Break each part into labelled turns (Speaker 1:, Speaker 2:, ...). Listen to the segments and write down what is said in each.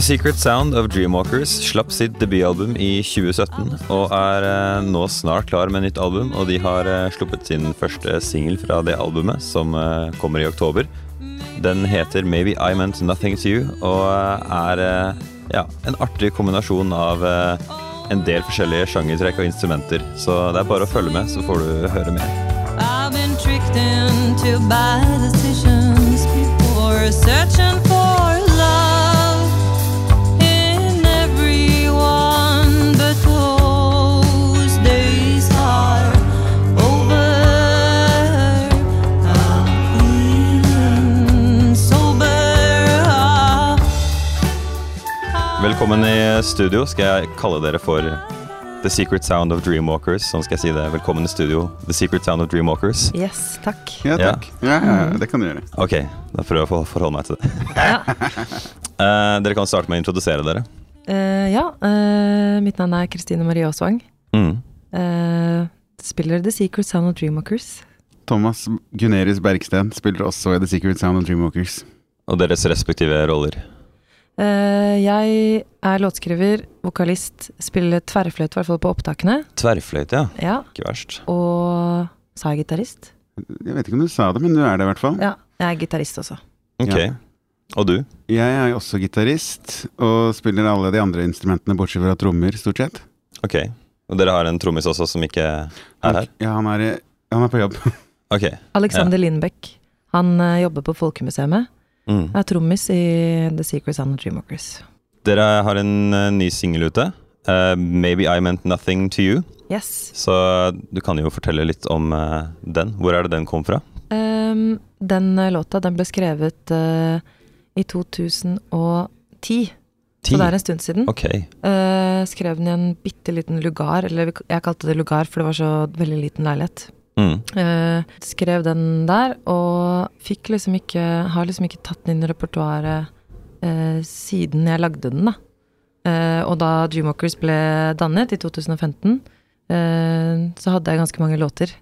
Speaker 1: Secret Sound of Dreamwalkers slapp sitt debutalbum i 2017 og er eh, nå snart klar med nytt album. Og de har eh, sluppet sin første singel fra det albumet, som eh, kommer i oktober. Den heter Maybe I Meant Nothing To You og eh, er eh, ja, en artig kombinasjon av eh, en del forskjellige sjangertrekk og instrumenter. Så det er bare å følge med, så får du høre mer.
Speaker 2: I've been tricked into bad decisions before searching for love in everyone, but those days are over. I'm sober.
Speaker 1: Velkommen i studio. Skal jeg kalle dere for The Secret Sound of Dreamwalkers? Sånn skal jeg si det. Velkommen i studio, The Secret Sound of Dreamwalkers.
Speaker 3: Yes, takk.
Speaker 4: Ja, takk. Ja, ja, ja, det kan du gjøre.
Speaker 1: Ok, da prøver jeg å for- forholde meg til det. Eh, dere kan starte med å introdusere dere.
Speaker 3: Eh, ja, eh, mitt navn er Kristine Marie Aasvang.
Speaker 1: Mm.
Speaker 3: Eh, spiller The Secret Sound of Dreamwalkers.
Speaker 4: Thomas Gunerius Bergsten spiller også i The Secret Sound of Dreamwalkers.
Speaker 1: Og deres respektive roller.
Speaker 3: Eh, jeg er låtskriver, vokalist, spiller tverrfløyte, i hvert fall på opptakene.
Speaker 1: Tverrfløyte, ja.
Speaker 3: Ja,
Speaker 1: Ikke verst.
Speaker 3: og sa jeg gitarist?
Speaker 4: Jeg vet ikke om du sa det, men du er det i hvert fall.
Speaker 3: Ja, jeg er gitarist også.
Speaker 1: Ok.
Speaker 4: Ja.
Speaker 1: Og du?
Speaker 4: Jeg er jo også gitarist, og spiller alle de andre instrumentene bortsett fra trommer, stort sett.
Speaker 1: Ok. Og dere har en trommis også som ikke er her?
Speaker 4: Ja, han er, i- han er på jobb.
Speaker 1: Ok.
Speaker 3: Alexander Lindbekk. Han eh, jobber på Folkemuseet.
Speaker 1: Mm.
Speaker 3: Er trommis i The Secret Sound of Dreamwalkers.
Speaker 1: Dere har en eh, ny singel ute. eh, Maybe I Meant Nothing To You.
Speaker 3: Yes.
Speaker 1: Så du kan jo fortelle litt om eh, den. Hvor er det den kom fra?
Speaker 3: Ehm, den eh, låta den ble skrevet eh, i 2010.
Speaker 1: Ti.
Speaker 3: Så det er en stund siden.
Speaker 1: Ok.
Speaker 3: Eh, skrev den i en bitte liten lugar, eller vi- jeg kalte det lugar for det var så veldig liten leilighet.
Speaker 1: Mm.
Speaker 3: Eh, skrev den der, og fikk liksom ikke Har liksom ikke tatt den inn i repertoaret eh, siden jeg lagde den, da. Eh, og da Dreamwalkers ble dannet i 2015, eh, så hadde jeg ganske mange låter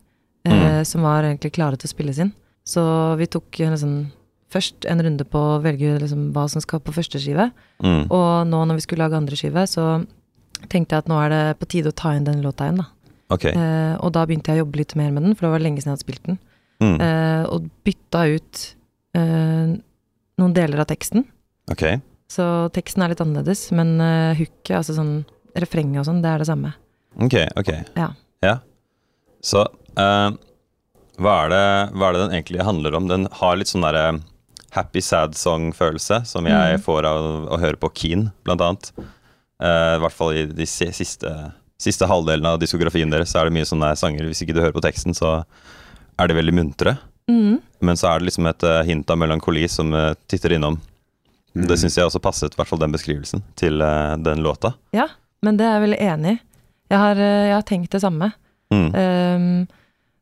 Speaker 3: eh,
Speaker 1: Mm.
Speaker 3: som var egentlig klare til å spilles inn. Så vi tok en liksom først en runde på å velge liksom hva som skal på første skive.
Speaker 1: Mm.
Speaker 3: Og nå når vi skulle lage andre skive, så tenkte jeg at nå er det på tide å ta inn den låta igjen, da.
Speaker 1: Ok.
Speaker 3: Eh, og da begynte jeg å jobbe litt mer med den, for det var lenge siden jeg hadde spilt den.
Speaker 1: Mm.
Speaker 3: Eh, og bytta ut eh, noen deler av teksten.
Speaker 1: Ok.
Speaker 3: Så teksten er litt annerledes, men eh, hooket, altså sånn refrenget og sånn, det er det samme.
Speaker 1: Ok, ok.
Speaker 3: Ja.
Speaker 1: Så eh, hva, er det, hva er det den egentlig handler om? Den har litt sånn derre happy sad song-følelse, som jeg får av å høre på Keen, blant annet. Eh, I hvert fall i de si- siste, siste halvdelen av diskografien deres, så er det mye sånne sanger. Hvis ikke du hører på teksten, så er de veldig muntre. Men så er det liksom et eh, hint av melankoli som eh, titter innom.
Speaker 4: Mm.
Speaker 1: Det syns jeg også passet, i hvert fall den beskrivelsen, til eh, den låta.
Speaker 3: Ja, men det er jeg veldig enig i. Jeg har, eh, jeg har tenkt det samme.
Speaker 1: Mm.
Speaker 3: Ehm,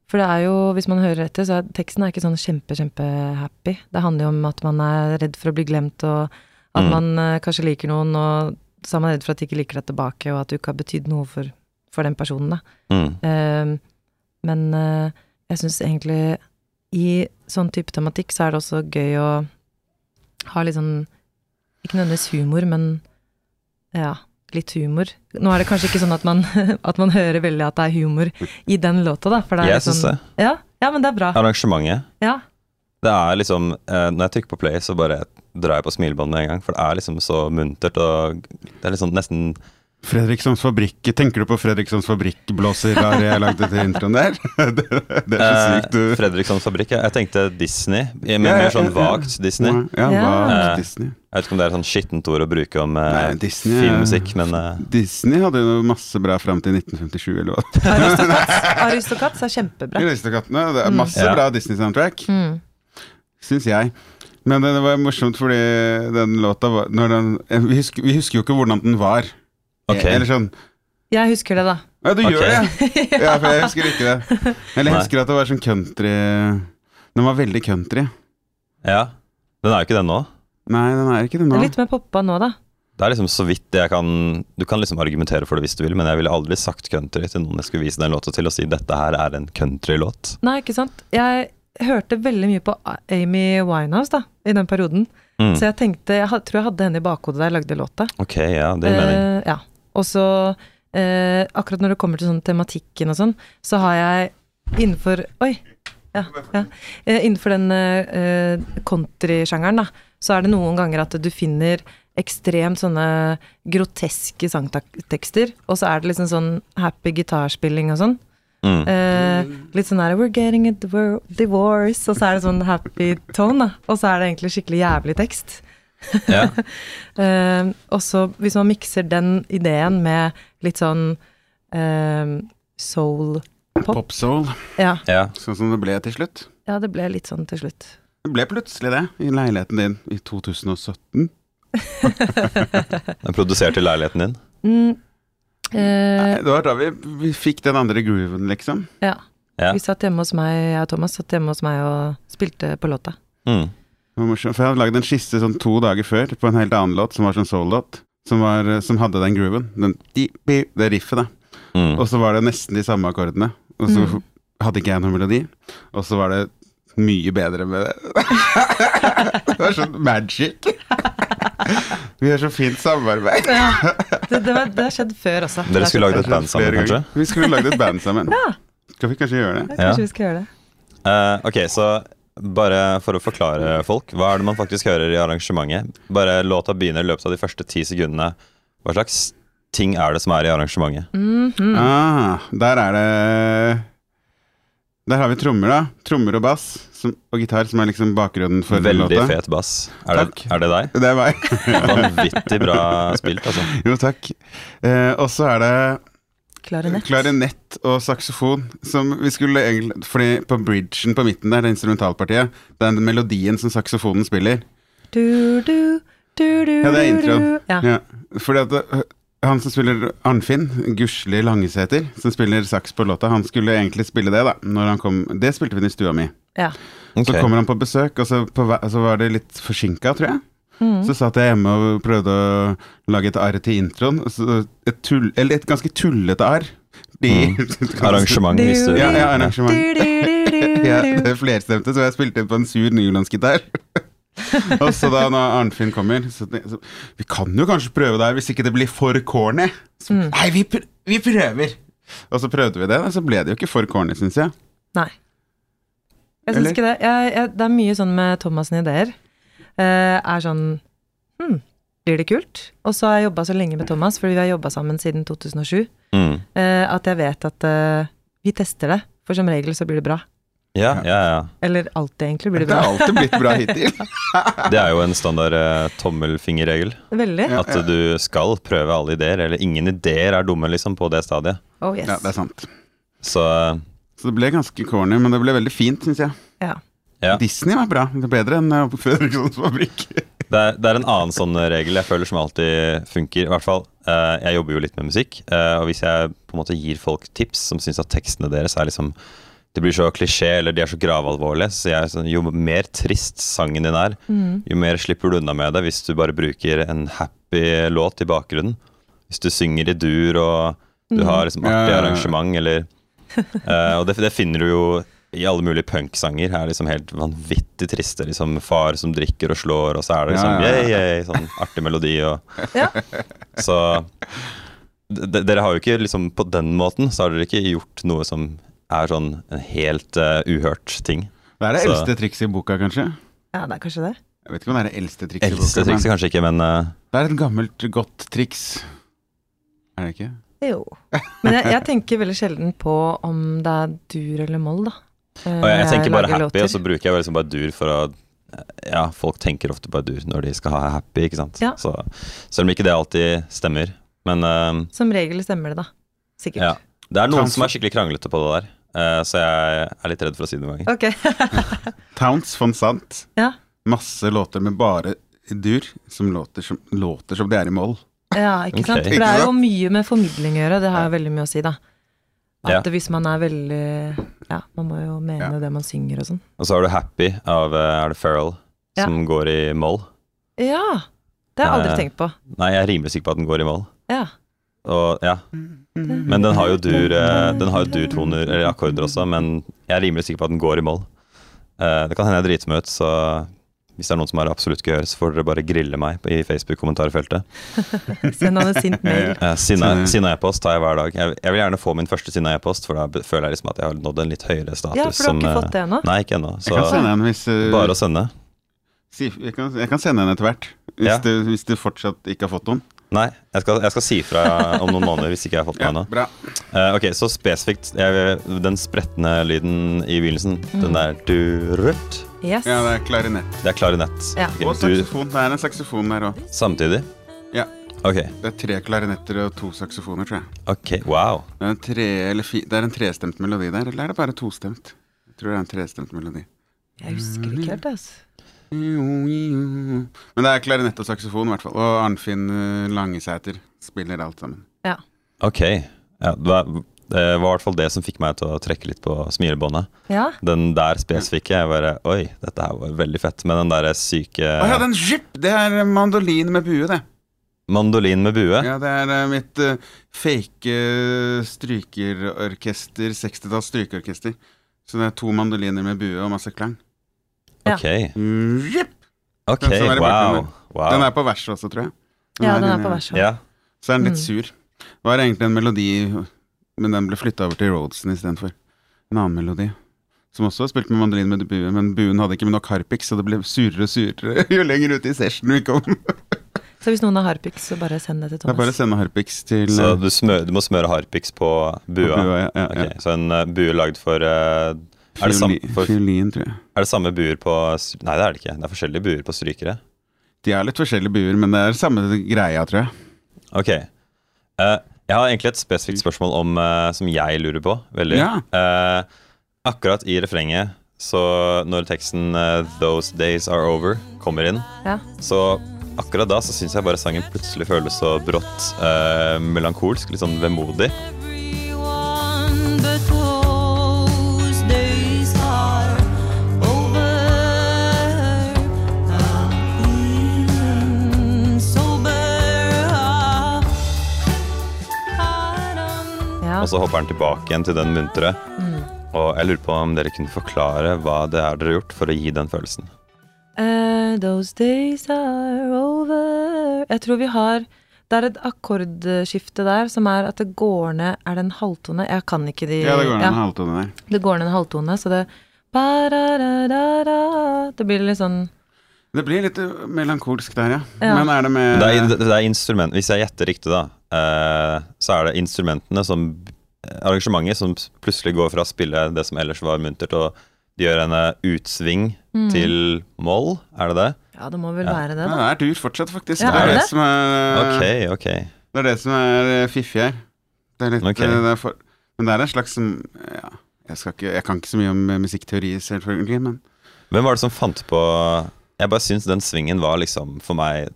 Speaker 3: for det er jo, hvis man hører etter, så er teksten er ikke sånn kjempe, kjempe-happy. Det handler jo om at man er redd for å bli glemt, og at man eh, kanskje liker noen, og så er man redd for at de ikke liker deg tilbake, og at du ikke har betydd noe for, for den personen, da.
Speaker 1: Mm.
Speaker 3: Ehm, men eh, jeg syns egentlig i sånn type tematikk så er det også gøy å ha litt sånn Ikke nødvendigvis humor, men ja, litt humor. Nå er det kanskje ikke sånn at man, at man hører veldig at det er humor i den låta, da. For det er
Speaker 1: Jeg
Speaker 3: litt sånn,
Speaker 1: syns det.
Speaker 3: Ja, ja, men det er bra.
Speaker 1: Arrangementet
Speaker 3: Ja.
Speaker 1: Det er liksom eh, Når jeg trykker på play, så bare drar jeg på smilebåndet med en gang. For det er liksom så muntert og Det er liksom nesten
Speaker 4: Fredrikssons Fabrikk. Tenker du på Fredrikssons Fabrikk-blåser der jeg lagde til introen der? det, det er så
Speaker 1: eh,
Speaker 4: sykt, du.
Speaker 1: Fredrikssons fabrikk. Jeg jeg tenkte Disney, men
Speaker 4: Ja, ja,
Speaker 1: mer sånn
Speaker 4: ja, ja. Mm.
Speaker 1: vagt Disney.
Speaker 4: Ja,
Speaker 3: Ja.
Speaker 4: hva-
Speaker 1: Eh,
Speaker 4: Disney.
Speaker 1: Jeg vet ikke om det er et sånn skittent ord å bruke om eh,
Speaker 4: Nei, Disney er-
Speaker 1: filmmusikk, men eh,
Speaker 4: Disney hadde jo masse bra fram til 1957, eller hva?
Speaker 3: Aristocats, Aristocats er kjempebra.
Speaker 4: Aristokattene, det er masse
Speaker 1: Ja.
Speaker 4: bra Disney-soundtrack,
Speaker 3: Mm.
Speaker 4: syns jeg. Men det, det var morsomt fordi den låta var når den, eh, vi, husker, vi husker jo ikke hvordan den var.
Speaker 1: Ok.
Speaker 4: Eller sånn
Speaker 3: Jeg husker det, da.
Speaker 4: Ja, du
Speaker 1: Ok.
Speaker 4: gjør det! Ja, for jeg husker ikke det. Eller jeg
Speaker 1: Nei.
Speaker 4: husker at det var sånn country Den var veldig country.
Speaker 1: ja. Den er jo ikke den nå.
Speaker 4: Nei, den er ikke
Speaker 3: Det
Speaker 4: det nå.
Speaker 3: er litt mer poppa nå, da.
Speaker 1: Det er liksom så vidt jeg kan Du kan liksom argumentere for det hvis du vil, men jeg ville aldri sagt country til noen jeg skulle vise den låta til, og si dette her er en countrylåt.
Speaker 3: Nei, ikke sant. Jeg hørte veldig mye på Amy Winehouse da, i den perioden.
Speaker 1: Mm.
Speaker 3: Så jeg tenkte, jeg ha- tror jeg hadde henne i bakhodet da jeg lagde låta.
Speaker 1: Ok, ja, det gir mening.
Speaker 3: Eh, ja. Og så eh, akkurat når det kommer til sånn tematikken og sånn, så har jeg innenfor Oi. Ja, ja. Eh, innenfor den eh, eh, countrysjangeren, da, så er det noen ganger at du finner ekstremt sånne groteske sangtekster, og så er det liksom sånn happy gitarspilling og sånn.
Speaker 1: Mm.
Speaker 3: Eh, litt sånn her We're getting a divor- divorce, og så er det sånn happy tone, da. Og så er det egentlig skikkelig jævlig tekst.
Speaker 1: Ja.
Speaker 3: Eh, og så hvis man mikser den ideen med litt sånn eh, soul Pop.
Speaker 4: Popsoul.
Speaker 3: ja.
Speaker 1: ja.
Speaker 4: Sånn som det ble til slutt.
Speaker 3: ja, det ble litt sånn til slutt.
Speaker 4: Det ble plutselig det, i leiligheten din i 2017.
Speaker 1: Den produserte i leiligheten din.
Speaker 3: Mm. Eh,
Speaker 4: Nei, det var da vi, vi fikk den andre grooven, liksom.
Speaker 3: ja.
Speaker 1: Ja.
Speaker 3: Vi satt hjemme hos meg, jeg og Thomas satt hjemme hos meg og spilte på låta.
Speaker 1: Mm.
Speaker 4: Det var morsomt, For jeg hadde lagd en skisse sånn to dager før på en helt annen låt, som var sånn soul-låt. Som, var, eh, som hadde den grooven. Den, di- bi- det riffet, da.
Speaker 1: Mm.
Speaker 4: Og så var det nesten de samme akkordene. Og så
Speaker 3: Mm.
Speaker 4: hadde ikke jeg noen melodi. Og så var det mye bedre med det. det var sånn magic. vi har så fint samarbeid.
Speaker 3: Det, det, var, det har skjedd før også.
Speaker 1: Dere skulle lagd et band sammen,
Speaker 4: Flere
Speaker 1: kanskje?
Speaker 4: ganger. Vi skulle lagd et band sammen.
Speaker 3: Ja.
Speaker 4: Skal vi kanskje gjøre det?
Speaker 3: Ja, kanskje
Speaker 1: Ja.
Speaker 3: vi skal gjøre det.
Speaker 1: Eh, ok, så bare for å forklare folk, hva er det man faktisk hører i arrangementet? Bare låta begynner i løpet av de første ti sekundene. Hva slags ting er det som er i arrangementet?
Speaker 4: Mm.
Speaker 3: Mhm.
Speaker 4: Ah, der er det Der har vi trommer, da. Trommer og bass som, og gitar, som er liksom bakgrunnen for den
Speaker 1: Veldig
Speaker 4: låta.
Speaker 1: fet bass. Er det,
Speaker 4: Takk.
Speaker 1: er det deg?
Speaker 4: Det er meg.
Speaker 1: Vanvittig bra spilt, altså.
Speaker 4: Jo, takk. Eh, og så er det
Speaker 3: Klarinett.
Speaker 4: Klarinett og saksofon. Som vi skulle egentlig Fordi på bridgen på midten der, det instrumentalpartiet, det er den melodien som saksofonen spiller.
Speaker 3: Du, du, du, du,
Speaker 4: Ja, det
Speaker 3: du,
Speaker 4: er introen.
Speaker 3: du. Ja.
Speaker 4: Ja. Fordi at øh, han som spiller Arnfinn, Gusli Langesæter, som spiller saks på låta, han skulle egentlig spille det, da. Når han kom Det spilte vi inn i stua mi.
Speaker 3: Ja.
Speaker 1: Ok.
Speaker 4: Så kommer han på besøk, og så, på, vei- så var det litt forsinka, tror jeg.
Speaker 3: Mhm.
Speaker 4: Så satt jeg hjemme og prøvde å lage et arr til introen. og så Et, tull, eller et ganske tullete arr. De-
Speaker 1: Mm. Arrangement, hvis du
Speaker 4: Ja, ja, arrangement.
Speaker 3: Du, du, du, du,
Speaker 4: Ja,
Speaker 3: du.
Speaker 4: det er flerstemte, så jeg spilte på en sur nylandsgitar. og så da når Arnfinn kommer, så, tenk- så Vi kan jo kanskje prøve det her hvis ikke det blir for corny. Så,
Speaker 3: Mm.
Speaker 4: Nei, vi, pr vi prøver! Og så prøvde vi det, og så ble det jo ikke for corny, syns jeg.
Speaker 3: Nei. Jeg syns
Speaker 4: Eller?
Speaker 3: ikke det. Jeg, jeg, det er mye sånn med Thomassen ideer. Eh, er sånn Hm, blir det kult? Og så har jeg jobba så lenge med Thomas, fordi vi har jobba sammen siden 2007,
Speaker 1: Mm.
Speaker 3: eh, at jeg vet at eh, vi tester det. For som regel så blir det bra.
Speaker 1: Ja, ja, ja.
Speaker 3: Eller alltid, egentlig, blir
Speaker 4: Det
Speaker 3: det bra.
Speaker 4: har alltid blitt bra hittil.
Speaker 1: Det er jo en standard eh, tommelfingerregel.
Speaker 3: Veldig.
Speaker 1: At du skal prøve alle ideer, eller ingen ideer er dumme, liksom, på det stadiet.
Speaker 3: Oh yes.
Speaker 4: Ja, det er sant.
Speaker 1: Så eh,
Speaker 4: Så det ble ganske corny, men det ble veldig fint, syns jeg.
Speaker 3: Ja.
Speaker 1: ja.
Speaker 4: Disney var bra. Det er bedre enn eh, Fredrikssons fabrikk.
Speaker 1: Det er, det er en annen sånn regel jeg føler som alltid funker. I hvert fall, eh, Jeg jobber jo litt med musikk, eh, og hvis jeg på en måte gir folk tips som syns at tekstene deres er liksom de blir så klisjé, eller de er så gravalvorlige, så jeg er sånn, jo mer trist sangen din er, jo mer slipper du unna med det hvis du bare bruker en happy låt i bakgrunnen. Hvis du synger i dur, og du har liksom artig
Speaker 4: Ja.
Speaker 1: arrangement, eller Eh, og det, det finner du jo i alle mulige punksanger. Her er liksom helt vanvittig triste. Liksom far som drikker og slår, og så er det liksom
Speaker 4: Ja, ja, ja.
Speaker 1: yay, yay, sånn artig melodi. Og,
Speaker 3: Ja.
Speaker 1: Så d- d- dere har jo ikke liksom på den måten så har dere ikke gjort noe som er sånn en helt eh, uhørt ting.
Speaker 4: Det er det
Speaker 1: Så-
Speaker 4: eldste trikset i boka, kanskje.
Speaker 3: ja, det er kanskje det.
Speaker 4: Jeg vet ikke om det er det eldste trikset i
Speaker 1: Eldste
Speaker 4: boka.
Speaker 1: trikset
Speaker 4: Men
Speaker 1: kanskje ikke, men eh,
Speaker 4: det er et gammelt, godt triks. Er det ikke?
Speaker 3: Jo. Men jeg, jeg tenker veldig sjelden på om det er dur eller moll, da. Eh,
Speaker 1: og jeg, jeg tenker bare happy,
Speaker 3: lager
Speaker 1: og
Speaker 3: låter.
Speaker 4: altså.
Speaker 1: så bruker jeg liksom bare dur for å eh, ja, folk tenker ofte bare dur når de skal ha happy, ikke sant.
Speaker 3: Ja.
Speaker 1: Så, selv om ikke det alltid stemmer. Men eh,
Speaker 3: Som regel stemmer det, da. Sikkert.
Speaker 1: Ja. Det er noen
Speaker 4: Transfer-
Speaker 1: som er skikkelig kranglete på det der, eh, så jeg er litt redd for å si det noen ganger.
Speaker 3: Ok.
Speaker 4: Towns von Sant.
Speaker 3: ja.
Speaker 4: Masse låter med bare dur som låter som, låter som de er i moll.
Speaker 3: Ja, ikke
Speaker 1: Ok.
Speaker 3: sant. For det er jo mye med formidling å gjøre, det har jo veldig mye å si, da. At
Speaker 1: Ja.
Speaker 3: hvis man er veldig Ja, man må jo mene det man synger og sånn.
Speaker 1: Og så har du Happy av eh, er det Farrell,
Speaker 3: Ja.
Speaker 1: som går i moll.
Speaker 3: Ja! Det har jeg aldri
Speaker 1: Eh.
Speaker 3: tenkt på.
Speaker 1: Nei, jeg er rimelig sikker på at den går i moll.
Speaker 3: Ja.
Speaker 1: Og, ja.
Speaker 3: Mm.
Speaker 1: Men den har jo dur eh, Den har jo durtoner, eller akkorder også, men jeg er rimelig sikker på at den går i moll. Eh, Det kan hende jeg driter meg ut, så Hvis det er noen som har absolutt gehør, så får dere bare grille meg på- i Facebook-kommentarfeltet.
Speaker 3: Send han en sint mail.
Speaker 1: Eh,
Speaker 4: Sinne.
Speaker 1: sinna- Sinna-e-post tar jeg hver dag. Jeg, jeg vil gjerne få min første sinna-e-post, for da be- føler jeg liksom at jeg har nådd en litt høyere status.
Speaker 3: Ja, for du har
Speaker 1: som,
Speaker 3: ikke
Speaker 1: eh,
Speaker 3: fått det ennå?
Speaker 1: Nei, ikke ennå.
Speaker 4: Jeg kan
Speaker 1: Så
Speaker 4: sende en hvis eh,
Speaker 1: bare å sende.
Speaker 4: si, jeg, kan, jeg kan sende en etter hvert. Hvis,
Speaker 1: Ja.
Speaker 4: du, hvis du fortsatt ikke har fått noen.
Speaker 1: Nei, jeg skal, jeg skal si fra om noen måneder hvis ikke jeg har fått meg ennå.
Speaker 4: bra.
Speaker 1: Eh, ok, så spesifikt jeg, den spretne lyden i begynnelsen. Den
Speaker 4: Mm.
Speaker 1: der durut.
Speaker 3: Yes.
Speaker 4: Ja, det er klarinett.
Speaker 1: Det er klarinett.
Speaker 3: Ja.
Speaker 1: Ok,
Speaker 4: Og
Speaker 1: du,
Speaker 4: saksofon. Det er en saksofon der òg.
Speaker 1: samtidig?
Speaker 4: Ja.
Speaker 1: Ok.
Speaker 4: Det er tre klarinetter og to saksofoner, tror jeg.
Speaker 1: ok, Wow.
Speaker 4: Det er en, tre, eller fi, det er en trestemt melodi der, eller er det bare tostemt? Jeg tror det er en trestemt melodi.
Speaker 3: Jeg husker det ikke helt, altså.
Speaker 4: Men det er klarinett og saksofon, i hvert fall. Og Arnfinn eh, Langesæter spiller alt sammen.
Speaker 3: Ja.
Speaker 1: Ok. Ja, det var det var i hvert fall det som fikk meg til å trekke litt på smilebåndet.
Speaker 3: ja.
Speaker 1: Den der spesifikke. Jeg bare Oi, dette her var veldig fett. Men den derre syke
Speaker 4: Å ja, den jip! Det er mandolin med bue, det.
Speaker 1: mandolin med bue.
Speaker 4: Ja, det er eh, mitt eh, fake eh, strykerorkester, 60-talls strykeorkester. Så det er to mandoliner med bue og masse klang.
Speaker 3: Ja.
Speaker 1: Ok.
Speaker 4: Jip!
Speaker 1: Ok,
Speaker 4: Den som er i
Speaker 1: wow.
Speaker 4: bakgrunnen.
Speaker 1: wow.
Speaker 4: Den er på verset også, tror jeg.
Speaker 3: ja, den er på
Speaker 4: inne-
Speaker 3: verset.
Speaker 1: Ja.
Speaker 4: Så er den litt
Speaker 3: Mm.
Speaker 4: sur. Det var egentlig en melodi, men den ble flytta over til Rhodesen istedenfor. En annen melodi. Som også var spilt med mandolin med bue, men buen hadde ikke med nok harpiks, så det ble surere og surere jo lenger ut i session vi kom. Det
Speaker 3: Så hvis noen har harpiks, så bare send det til
Speaker 4: er bare å
Speaker 3: Thomas.
Speaker 4: sende harpiks til
Speaker 1: Så
Speaker 4: eh,
Speaker 1: du, smø- du må smøre harpiks på bua?
Speaker 4: bua, ja, ja, ja.
Speaker 1: Ok, Så en eh, bue lagd for eh, er, det samme,
Speaker 4: Fioli-
Speaker 1: for
Speaker 4: Fiolin, tror jeg.
Speaker 1: er det samme buer på s- Nei, det er det ikke. Det er forskjellige buer på strykere.
Speaker 4: De er litt forskjellige buer, men det er samme greia, tror jeg.
Speaker 1: Ok. Eh, jeg har egentlig et spesifikt spørsmål om, eh, som jeg lurer på veldig.
Speaker 4: Ja.
Speaker 1: Eh, akkurat i refrenget, så når teksten eh, 'Those days are over' kommer inn,
Speaker 3: Ja.
Speaker 1: så akkurat da så syns jeg bare sangen plutselig føles så brått eh, melankolsk, litt sånn vemodig.
Speaker 2: Everyone, but those days are over. I'm sober up. I don't
Speaker 3: Ja.
Speaker 1: Og så hopper den tilbake igjen til den muntre. Og jeg lurer på om dere kunne forklare hva det er dere har gjort for å gi den følelsen.
Speaker 3: Eh, those days are over Jeg tror vi har Det er et akkordskifte der som er at det går ned Er det en halvtone? Jeg kan ikke de
Speaker 4: Ja, det går an
Speaker 3: Ja,
Speaker 4: en halvtone der.
Speaker 3: det går ned en halvtone, så det Ba-ra-ra-ra-ra. Det blir litt sånn
Speaker 4: Det blir litt eh, melankolsk der, ja.
Speaker 3: Ja.
Speaker 4: Men er det med
Speaker 1: Det er, det er instrument, Hvis jeg gjetter riktig, da, eh, så er det instrumentene som eh, Arrangementet som plutselig går fra å spille det som ellers var muntert, og de gjør en eh, utsving til moll, er det det?
Speaker 3: Ja, det må vel
Speaker 1: Ja.
Speaker 3: være det,
Speaker 4: Ja,
Speaker 3: da.
Speaker 4: det er dur fortsatt, faktisk.
Speaker 3: Ja,
Speaker 4: det
Speaker 1: er
Speaker 4: er
Speaker 1: det
Speaker 4: det,
Speaker 3: det?
Speaker 4: som er
Speaker 1: Ok, ok.
Speaker 4: Det er det som er eh, fiffig her. Det er litt,
Speaker 1: Ok.
Speaker 4: eh, det er for, men det er en slags som ja, jeg, skal ikke, jeg kan ikke så mye om eh, musikkteori, selvfølgelig, men
Speaker 1: Hvem var det som fant på Jeg bare syns den svingen var liksom, for meg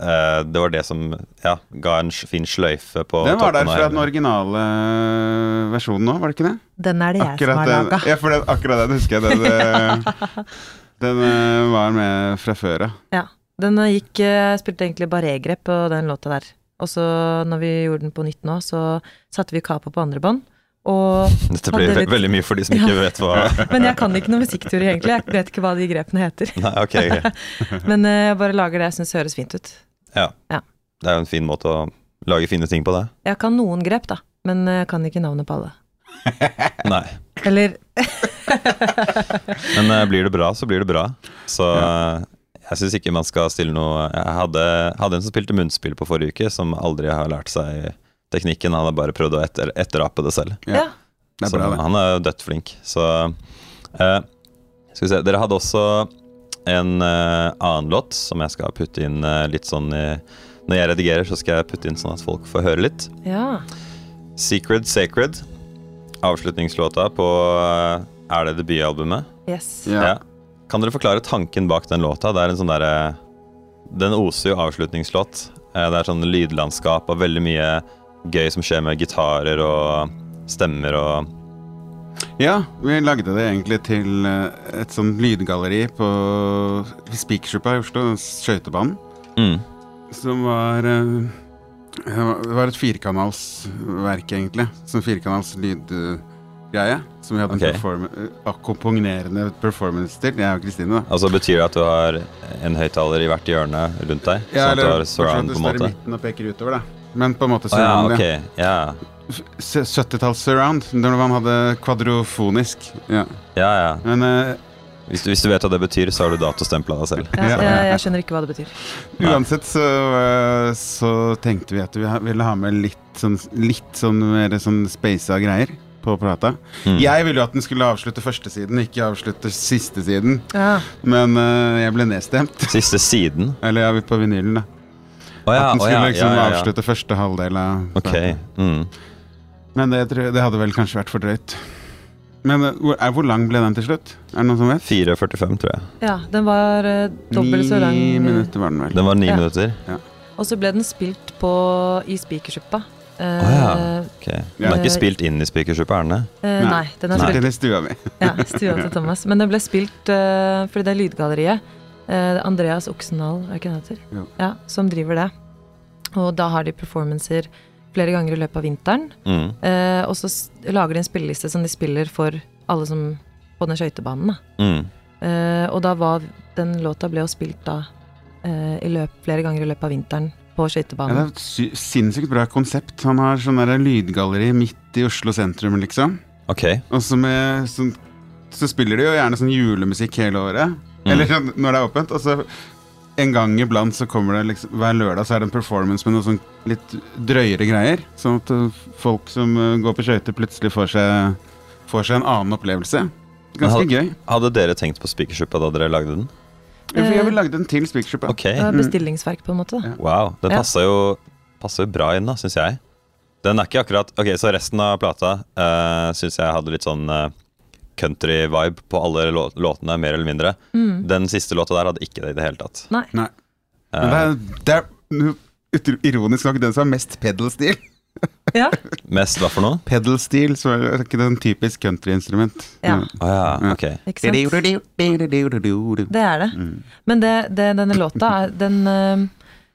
Speaker 1: eh, Det var det som ja, ga en sj- fin sløyfe på
Speaker 4: den var der
Speaker 1: toppen av
Speaker 4: fra
Speaker 1: hele-
Speaker 4: den originale eh, versjonen òg, var det ikke det?
Speaker 3: Den er det jeg som har
Speaker 4: den,
Speaker 3: laga.
Speaker 4: ja, for den, akkurat den husker jeg. Den, eh, den eh, var med fra før av.
Speaker 3: Ja. Den eh, gikk eh, Spilte egentlig bare e-grep på den låta der. Og så, når vi gjorde den på nytt nå, så satte vi capo på andre bånd. Og
Speaker 1: Dette blir
Speaker 3: Hadde
Speaker 1: ve
Speaker 3: litt-
Speaker 1: veldig mye for de som ikke vet hva
Speaker 3: Men jeg kan ikke noe musikkteori, egentlig. Jeg vet ikke hva de grepene heter.
Speaker 1: Nei, ok, ok.
Speaker 4: Mhm.
Speaker 3: Men eh, jeg bare lager det jeg syns høres fint ut.
Speaker 1: Ja.
Speaker 3: Ja.
Speaker 1: Det er jo en fin måte å lage fine ting på, det.
Speaker 3: Jeg kan noen grep, da, men eh, jeg kan ikke navnet på alle.
Speaker 1: Nei.
Speaker 3: Eller
Speaker 1: Men eh, blir det bra, så blir det bra. Så eh, jeg syns ikke man skal stille noe Jeg hadde, hadde en som spilte munnspill på forrige uke, som aldri har lært seg teknikken. Han har bare prøvd å etter, etterape det selv.
Speaker 3: Ja.
Speaker 4: Ja. Det er
Speaker 1: så
Speaker 4: bra, det.
Speaker 1: han er jo dødt flink. Så eh, Skal vi se Dere hadde også en eh, annen låt som jeg skal putte inn eh, litt sånn i Når jeg redigerer, så skal jeg putte inn sånn at folk får høre litt.
Speaker 3: ja.
Speaker 1: Secret Sacred. Avslutningslåta på eh, Er det debutalbumet?
Speaker 3: Yes.
Speaker 4: Ja.
Speaker 1: Ja. Kan dere forklare tanken bak den låta? Det er en sånn derre Den oser jo avslutningslåt. Eh, Det er sånn lydlandskap og veldig mye gøy som skjer med gitarer og stemmer og
Speaker 4: Ja, vi lagde det egentlig til eh, et sånt lydgalleri på Spikersuppa i Oslo, skøytebanen.
Speaker 1: mm.
Speaker 4: Som var eh, Det var et firkanalsverk, egentlig. Som firkanals lydgreie. greie. Som vi hadde
Speaker 1: Ok.
Speaker 4: en perform eh, akkompagnerende performance til. Jeg og Kristine, da.
Speaker 1: Altså Betyr det at du har en høyttaler i hvert hjørne rundt deg?
Speaker 4: Ja,
Speaker 1: sånn at du
Speaker 4: eller
Speaker 1: har surround, på en
Speaker 4: fortsatt står i
Speaker 1: måte?
Speaker 4: midten og peker utover, da. Men på en måte
Speaker 1: Å ja,
Speaker 4: surround,
Speaker 1: ok.
Speaker 4: ja.
Speaker 1: Ja,
Speaker 4: S- 70-talls surround. Når man hadde kvadrofonisk. Ja.
Speaker 1: ja. ja.
Speaker 4: Men eh,
Speaker 1: Hvis, du, hvis du vet hva det betyr, så har du datostempla deg selv.
Speaker 3: Jeg,
Speaker 4: Ja.
Speaker 3: jeg, jeg skjønner ikke hva det betyr.
Speaker 1: Nei.
Speaker 4: uansett så, eh, så tenkte vi at vi ha- ville ha med litt sånn, litt sånn mer sånn spasa greier på plata.
Speaker 1: Mm.
Speaker 4: Jeg ville jo at den skulle avslutte første siden, ikke avslutte siste siden.
Speaker 3: Ja.
Speaker 4: Men eh, jeg ble nedstemt.
Speaker 1: Siste siden.
Speaker 4: Eller ja, på vinylen, da.
Speaker 1: Å ja,
Speaker 4: At den
Speaker 1: å
Speaker 4: skulle
Speaker 1: ja,
Speaker 4: liksom
Speaker 1: ja, ja, ja.
Speaker 4: avslutte første halvdel av
Speaker 1: Ok.
Speaker 4: platen.
Speaker 1: Mm.
Speaker 4: Men det, tror jeg- det hadde vel kanskje vært for drøyt. Men eh, hvor, er, hvor lang ble den til slutt? Er det noen som vet?
Speaker 1: 4.45, tror jeg.
Speaker 3: ja, den var eh, dobbelt så lang.
Speaker 4: Ni minutter var den vel.
Speaker 1: Den var ni
Speaker 3: Ja.
Speaker 1: minutter.
Speaker 3: Og så ble den spilt på i spikersuppa. Eh,
Speaker 1: Å Ok. Den er
Speaker 3: Ja.
Speaker 1: ikke spilt inn i spikersuppa, er den det?
Speaker 3: eh,
Speaker 4: Nei.
Speaker 3: nei, den er
Speaker 1: Nei.
Speaker 3: spilt
Speaker 4: Til i stua mi.
Speaker 3: ja, stua til Thomas. Men den ble spilt eh, fordi det er Lydgalleriet. eh, Andreas Oksendal, er det ikke han heter?
Speaker 4: Jo.
Speaker 3: Ja, som driver det. Og da har de performancer flere ganger i løpet av vinteren.
Speaker 1: Mm.
Speaker 3: Eh, og så s- lager de en spilleliste som de spiller for alle som på den skøytebanen. da.
Speaker 1: Mm.
Speaker 3: Eh, og da var den låta ble jo spilt da eh, i løp, flere ganger i løpet av vinteren på
Speaker 4: Ja, det er
Speaker 3: skøytebanen.
Speaker 4: et sy sinnssykt bra konsept. Han har sånn der lydgalleri midt i Oslo sentrum, liksom.
Speaker 1: Ok.
Speaker 4: Og så, med, sånn, så spiller de jo gjerne sånn julemusikk hele året. Eller sånn når det er åpent. Og så en gang iblant så kommer det liksom Hver lørdag så er det en performance med noe sånn litt drøyere greier. Sånn at øh, folk som øh, går på skøyter, plutselig får seg, får seg en annen opplevelse. Ganske
Speaker 1: Men
Speaker 4: gøy.
Speaker 1: Hadde dere tenkt på spikersuppa da dere lagde den?
Speaker 4: For jeg vil lage den til Spikersuppa.
Speaker 1: Ok.
Speaker 3: Det var Eh, bestillingsverk, på en måte. da.
Speaker 4: Ja.
Speaker 1: Wow. Den
Speaker 3: Ja.
Speaker 1: passer jo passer jo bra inn, da, syns jeg. Den er ikke akkurat Ok, så resten av plata uh, syns jeg hadde litt sånn eh, country-vibe på alle lå låtene, mer eller mindre. Den siste låta der hadde ikke det i det hele tatt.
Speaker 3: Mm. Nei.
Speaker 4: Nei.
Speaker 1: eh.
Speaker 4: Men det er, det er nu- utro- ironisk nok den som har mest pedal-stil.
Speaker 3: Ja.
Speaker 1: Mest hva for noe?
Speaker 4: Pedal-stil, så er det ikke den typisk countryinstrument.
Speaker 3: Ja.
Speaker 1: Å ja, ok.
Speaker 3: Ikke sant? Det er det.
Speaker 4: Mm.
Speaker 3: Men det, det, denne låta er Den eh,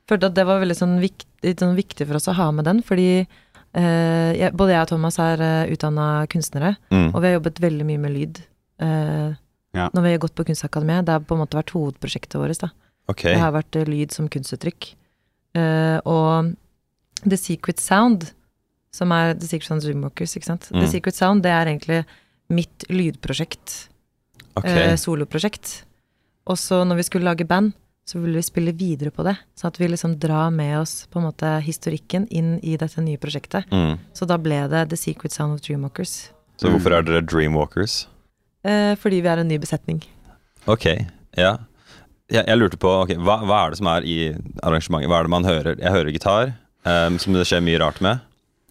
Speaker 3: følte at det var veldig sånn viktig, sånn viktig for oss å ha med den, fordi eh, jeg, både jeg og Thomas er uh, utdanna kunstnere,
Speaker 1: Mm.
Speaker 3: og vi har jobbet veldig mye med lyd. eh,
Speaker 4: Ja.
Speaker 3: Når vi har gått på Kunstakademiet. Det har på en måte vært hovedprosjektet vårt. da
Speaker 1: Ok.
Speaker 3: Det har vært eh, lyd som kunstuttrykk. Eh, og The Secret Sound, som er The Secret Sound Zoomwalkers, ikke sant. The
Speaker 1: Mm.
Speaker 3: Secret Sound, det er egentlig mitt lydprosjekt
Speaker 1: ok.
Speaker 3: eh, soloprosjekt. Og så når vi skulle lage band, så ville vi spille videre på det. Så at vi liksom drar med oss på en måte historikken inn i dette nye prosjektet.
Speaker 1: Mm.
Speaker 3: Så da ble det The Secret Sound of Dreamwalkers.
Speaker 1: Så hvorfor er dere Dreamwalkers?
Speaker 3: Eh, fordi vi er en ny besetning.
Speaker 1: Ok, ja. Jeg, jeg lurte på ok, hva, hva er det som er i arrangementet? Hva er det man hører? Jeg hører gitar, em, som det skjer mye rart med.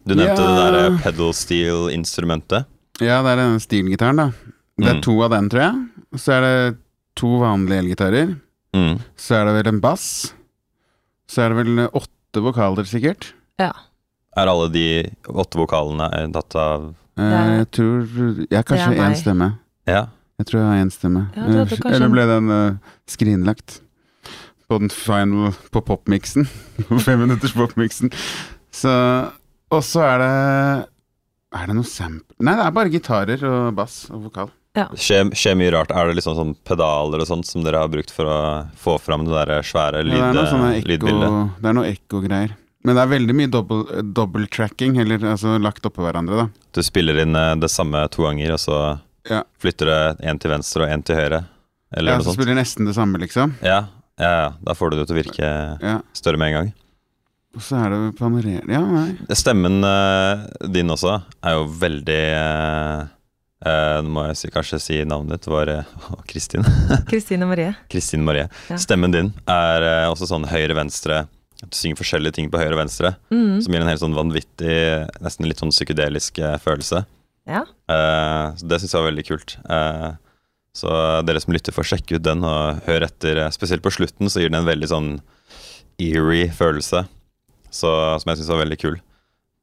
Speaker 1: Du nevnte
Speaker 4: Ja.
Speaker 1: det der pedal steel-instrumentet.
Speaker 4: Ja, det er denne stilgitaren, da. Det er
Speaker 1: Mm.
Speaker 4: to av den, tror jeg. Og Så er det to vanlige elgitarer.
Speaker 1: Mm.
Speaker 4: Så er det vel en bass. Så er det vel åtte vokaler, sikkert.
Speaker 3: Ja.
Speaker 1: Er alle de åtte vokalene eh, tatt av
Speaker 4: Eh,
Speaker 3: er-
Speaker 4: Jeg tror Jeg har kanskje
Speaker 3: Det er meg.
Speaker 4: én stemme.
Speaker 1: Ja.
Speaker 4: Jeg tror jeg har én stemme.
Speaker 3: Ja, du hadde
Speaker 4: Eh,
Speaker 3: kanskje
Speaker 4: Eller
Speaker 3: en-
Speaker 4: ble den eh, skrinlagt på den final på popmiksen? På femminutters popmiksen. Så Og så er det Er det noe sample Nei, det er bare gitarer og bass og vokal.
Speaker 1: Skjer, skjer mye rart. Er det liksom sånn pedaler og sånt som dere har brukt for å få fram det der svære lyd, eh,
Speaker 4: Ja, det er noe sånne
Speaker 1: lydbildet?
Speaker 4: ekko- det er noe ekko-greier. Men det er veldig mye double, eh, double tracking, eller altså lagt oppå hverandre, da.
Speaker 1: Du spiller inn eh, det samme to ganger, og så
Speaker 4: Ja.
Speaker 1: flytter det én til venstre og én til høyre? Eller
Speaker 4: Ja,
Speaker 1: noe
Speaker 4: så
Speaker 1: sånt?
Speaker 4: spiller nesten det samme, liksom.
Speaker 1: Ja, ja, ja. Da får du det til å virke
Speaker 4: Ja,
Speaker 1: større med en gang.
Speaker 4: Og så er det panorering Ja, nei.
Speaker 1: Stemmen eh, din også er jo veldig eh, eh, Nå må jeg si, kanskje si navnet ditt. Var eh, å, Kristin?
Speaker 3: Kristine Marie.
Speaker 1: Kristin Marie.
Speaker 3: Ja.
Speaker 1: Stemmen din er eh, også sånn høyre-venstre. Du synger forskjellige ting på høyre og venstre,
Speaker 3: Mm.
Speaker 1: som gir en helt sånn vanvittig, nesten litt sånn psykedelisk eh, følelse.
Speaker 3: Ja.
Speaker 1: Eh, så det syns jeg var veldig kult. Eh, så dere som lytter, får sjekke ut den og hør etter. eh, Spesielt på slutten så gir den en veldig sånn eerie følelse, så, som jeg syns var veldig kul.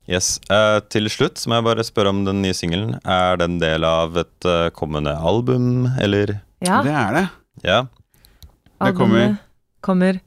Speaker 1: Yes. Eh, til slutt så må jeg bare spørre om den nye singelen. Er den del av et eh, kommende album, eller?
Speaker 3: ja.
Speaker 4: Det er det.
Speaker 1: Ja.
Speaker 4: det kommer-
Speaker 3: albumet kommer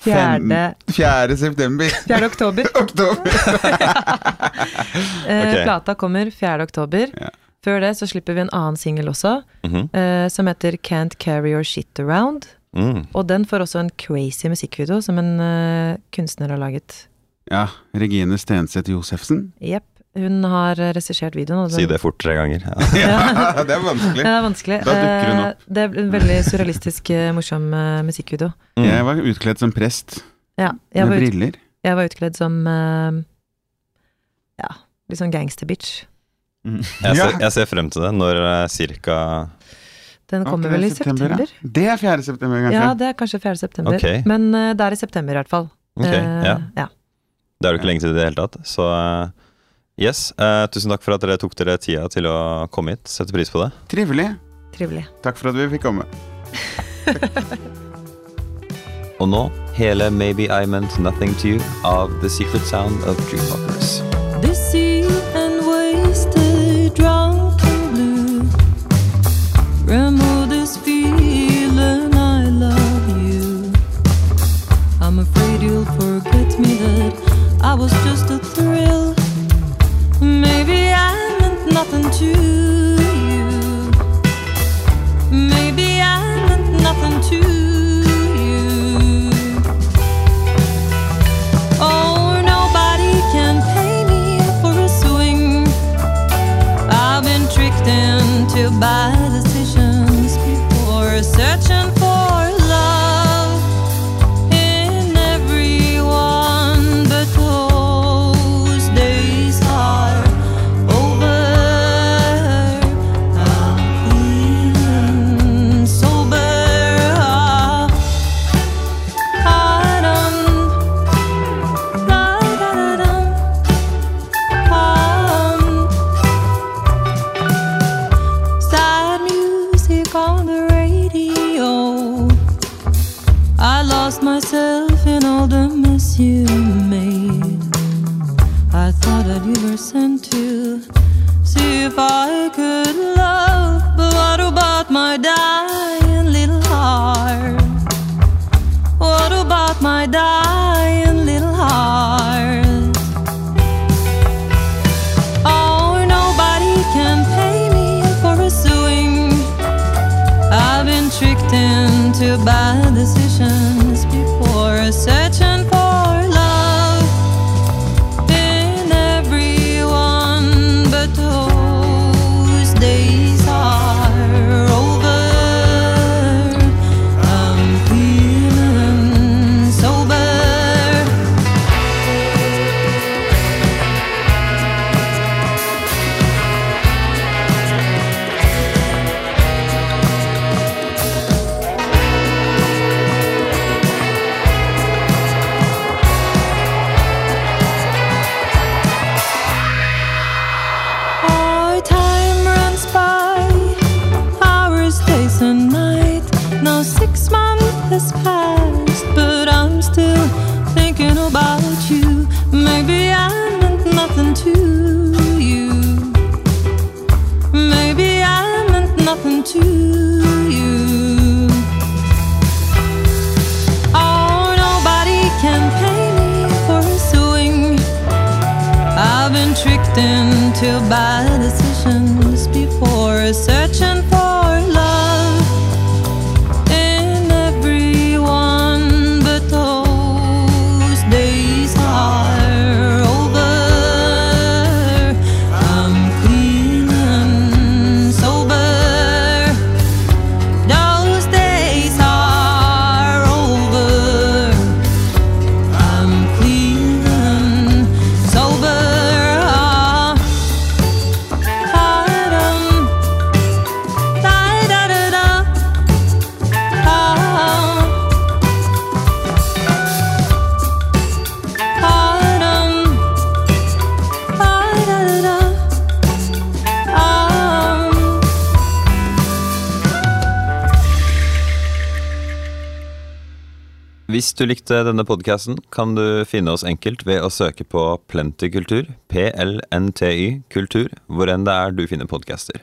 Speaker 4: Fem-
Speaker 3: 4.
Speaker 4: 4. september.
Speaker 3: 4. oktober.
Speaker 4: Oktober.
Speaker 3: Eh,
Speaker 1: Ok.
Speaker 3: Plata kommer 4. oktober.
Speaker 4: Ja.
Speaker 3: Før det så slipper vi en annen singel også,
Speaker 1: Mhm.
Speaker 3: eh, som heter Can't Carry Your Shit Around.
Speaker 1: Mm.
Speaker 3: Og den får også en crazy musikkvideo som en eh, kunstner har laget.
Speaker 4: Ja, Regine Stenseth Josefsen.
Speaker 3: Jepp. Hun har eh, regissert videoen. og den-
Speaker 1: Si det fort tre ganger. Ja.
Speaker 4: Ja, det er vanskelig.
Speaker 3: Ja, det er vanskelig.
Speaker 4: Da dukker hun
Speaker 3: Eh, Det er en veldig surrealistisk, eh, morsom eh, musikkvideo.
Speaker 1: Mm.
Speaker 4: Jeg var utkledd som prest
Speaker 3: Ja, jeg
Speaker 4: med
Speaker 3: var, ut,
Speaker 4: briller.
Speaker 3: jeg var utkledd som eh, Ja, litt sånn gangsterbitch.
Speaker 1: Jeg,
Speaker 4: Ja.
Speaker 1: ser, jeg ser frem til det når eh, cirka
Speaker 3: Den kommer
Speaker 4: Ok,
Speaker 3: vel i
Speaker 4: september,
Speaker 3: september?
Speaker 4: Ja. Det er 4. september, kanskje.
Speaker 3: Ja, det er kanskje 4. september.
Speaker 1: Ok.
Speaker 3: Men eh, det er i september i hvert fall.
Speaker 1: Ok,
Speaker 3: Eh,
Speaker 1: ja.
Speaker 3: ja.
Speaker 1: Det er jo ikke lenge til i det hele tatt. Så eh, yes, eh, tusen takk for at dere tok dere tida til å komme hit. Setter pris på det.
Speaker 4: Trivelig.
Speaker 3: Trivelig.
Speaker 4: Takk for at vi fikk komme.
Speaker 1: Og nå hele Maybe I Meant Nothing To You av The Secret Sound of Dreamwalkers.
Speaker 2: Deceived and wasted, drunk and blue. Remove this feeling, I love you. I'm afraid you'll forget me that I was just a thrill. Maybe I meant nothing to you. Maybe I meant nothing to you. Oh, nobody can pay me for a swing. I've been tricked into bad decisions before searching for love in everyone, but those days are over. I'm feeling sober. I don't Sad music on the radio. I lost myself in all the mess you made. I thought that you were sent to see if I could love, but what about my dying little heart? What about my dying little heart? Oh, nobody can pay me for a suing. I've been tricked into bad decisions before searching for love in everyone, but those days are over. I'm feeling sober. Our time runs by, hours, days, and night. Now six months has passed, but I'm still thinking about you. Maybe I meant nothing to you. Maybe I meant nothing to you. Oh, nobody can pay me for suing. I've been tricked into bad decisions before searching for love in everyone, but those days are over. I'm feeling sober. Those days are over. I'm clean, sober. uh, uh, um.
Speaker 1: Hvis du likte denne podcasten, kan du finne oss enkelt ved å søke på Plentykultur, PLNTY, kultur, hvor enn det er du finner podcaster.